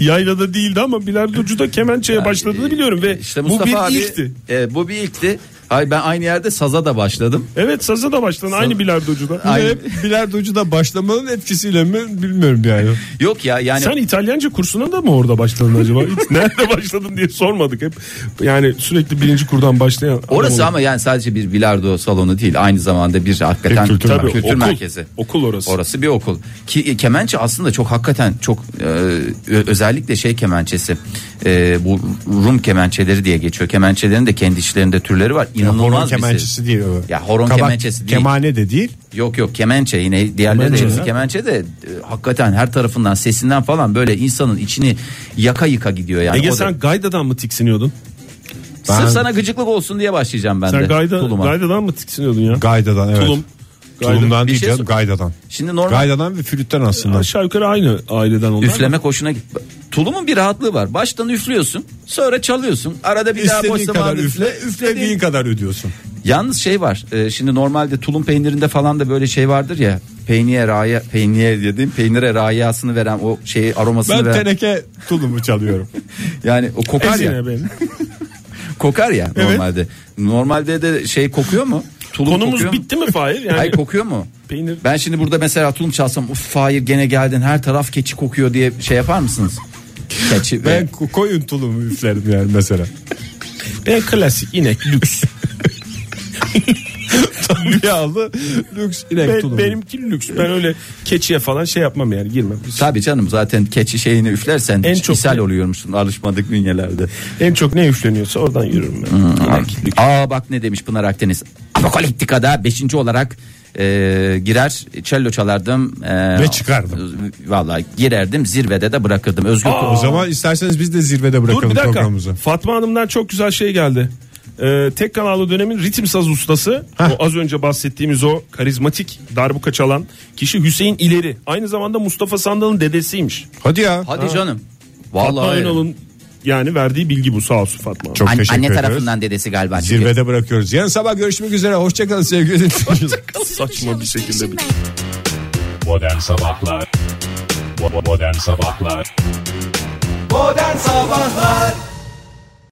S4: Yaylada değildi ama bilardocuda kemençeye başladığını biliyorum ve
S3: İşte
S4: bu
S3: e, Ee, Mustafa
S4: bir
S3: abi,
S4: ilkti.
S3: e, bu bir ilkti. Hayır ben aynı yerde saza da başladım.
S4: Evet saza da başladın aynı bilardocuda.
S3: Aynı-
S2: bilardocu da başlamanın etkisiyle mi bilmiyorum yani.
S3: Yok ya yani
S4: Sen İtalyanca kursuna da mı orada başladın acaba? Hiç nerede başladın diye sormadık hep. Yani sürekli birinci kurdan başlayan. adam
S3: orası
S4: oldum.
S3: ama yani sadece bir bilardo salonu değil. Aynı zamanda bir hakikaten
S2: Bir kültür
S3: kültür,
S2: merkezi.
S4: okul,
S3: merkezi.
S4: Okul orası.
S3: Orası bir okul. Ki e, kemençe aslında çok hakikaten çok e, ö- özellikle şey kemençesi. E, bu Rum kemençeleri diye geçiyor. Kemençelerin de kendi içlerinde türleri var.
S2: horon
S3: İnanılmaz bir şey.
S2: kemençesi değil o.
S3: Ya horon kemençesi değil.
S2: Kemane de değil.
S3: Yok yok kemençe yine diğerleri de
S2: Kemençe
S3: hepsi
S2: ya.
S3: kemençe de e, hakikaten her tarafından sesinden falan böyle insanın içini yaka yıka gidiyor yani.
S4: Ege
S3: O da-
S4: sen Gayda'dan mı tiksiniyordun?
S3: Sırf sana gıcıklık olsun diye başlayacağım ben de.
S4: Sen Gayda,
S3: tuluma.
S4: Gayda'dan mı tiksiniyordun ya?
S2: Gaydadan evet.
S4: Tulum.
S2: Tulumdan
S3: Bir
S2: değil
S3: şey
S2: canım
S3: sor-
S2: gaydadan.
S3: Şimdi normal
S2: Gaydadan ve flütten aslında.
S4: Aşağı yukarı aynı aileden onlar.
S3: üflemek hoşuna git. Tulumun bir rahatlığı var. Baştan üflüyorsun, sonra çalıyorsun. Arada bir daha boş
S2: İstediğin kadar
S3: zaman
S2: üfle, üflediğin kadar ödüyorsun.
S3: Yalnız şey var. e, şimdi normalde tulum peynirinde falan da böyle şey vardır ya. Peynire raya peynire dedim. Peynire rayasını veren o şeyi aromasını
S2: Ben
S3: veren.
S2: teneke tulumu çalıyorum.
S3: Yani o kokar ya.
S4: Ezine beni.
S3: Kokar ya normalde. Normalde de şey kokuyor mu? Tulum
S4: Konumuz
S3: kokuyor mu?
S4: bitti mi Fahir? Yani
S3: Hayır kokuyor mu?
S4: peynir.
S3: Ben şimdi burada mesela tulum çalsam uf hayır gene geldin her taraf keçi kokuyor diye şey yapar mısınız? Keçi
S2: Ben
S3: ve
S2: ko- koyun tulumu üflerim yani mesela.
S4: Ben klasik inek lüks.
S2: Yağlı lüks inek
S4: Ben-
S2: tulumu.
S4: benimki lüks. Ben öyle keçiye falan şey yapmam yani girmem.
S3: Tabii canım zaten keçi şeyini üflersen
S4: En
S3: en
S4: çok-
S3: ishal oluyormuşsun alışmadık bünyelerde.
S4: En çok ne üfleniyorsa oradan yürürüm ben.
S2: Hmm.
S3: Aa bak ne demiş Pınar Akdeniz. Apokaliptika'da 5. olarak e, girer cello çalardım. e,
S2: Ve çıkardım.
S3: Vallahi girerdim zirvede de bırakırdım. Özgür
S2: O zaman isterseniz biz de zirvede
S4: Dur
S2: bırakalım
S4: bir dakika.
S2: programımızı.
S4: Fatma Hanım'dan çok güzel şey geldi. Ee, tek kanallı dönemin ritim saz ustası o az önce bahsettiğimiz o karizmatik darbuka çalan kişi Hüseyin İleri. Aynı zamanda Mustafa Sandal'ın dedesiymiş.
S2: Hadi ya.
S3: Hadi canım.
S4: Fatma
S3: Vallahi
S4: Önal'ın yani verdiği bilgi bu sağ olsun Fatma.
S2: Çok
S3: An-
S2: teşekkür
S3: anne
S2: ediyoruz.
S3: tarafından dedesi galiba. çünkü.
S2: Zirvede bırakıyoruz. Yarın sabah görüşmek üzere. Hoşçakalın sevgili dinleyiciler.
S4: saçma bir şekilde. bir-
S1: Modern Sabahlar Modern Sabahlar
S10: Modern Sabahlar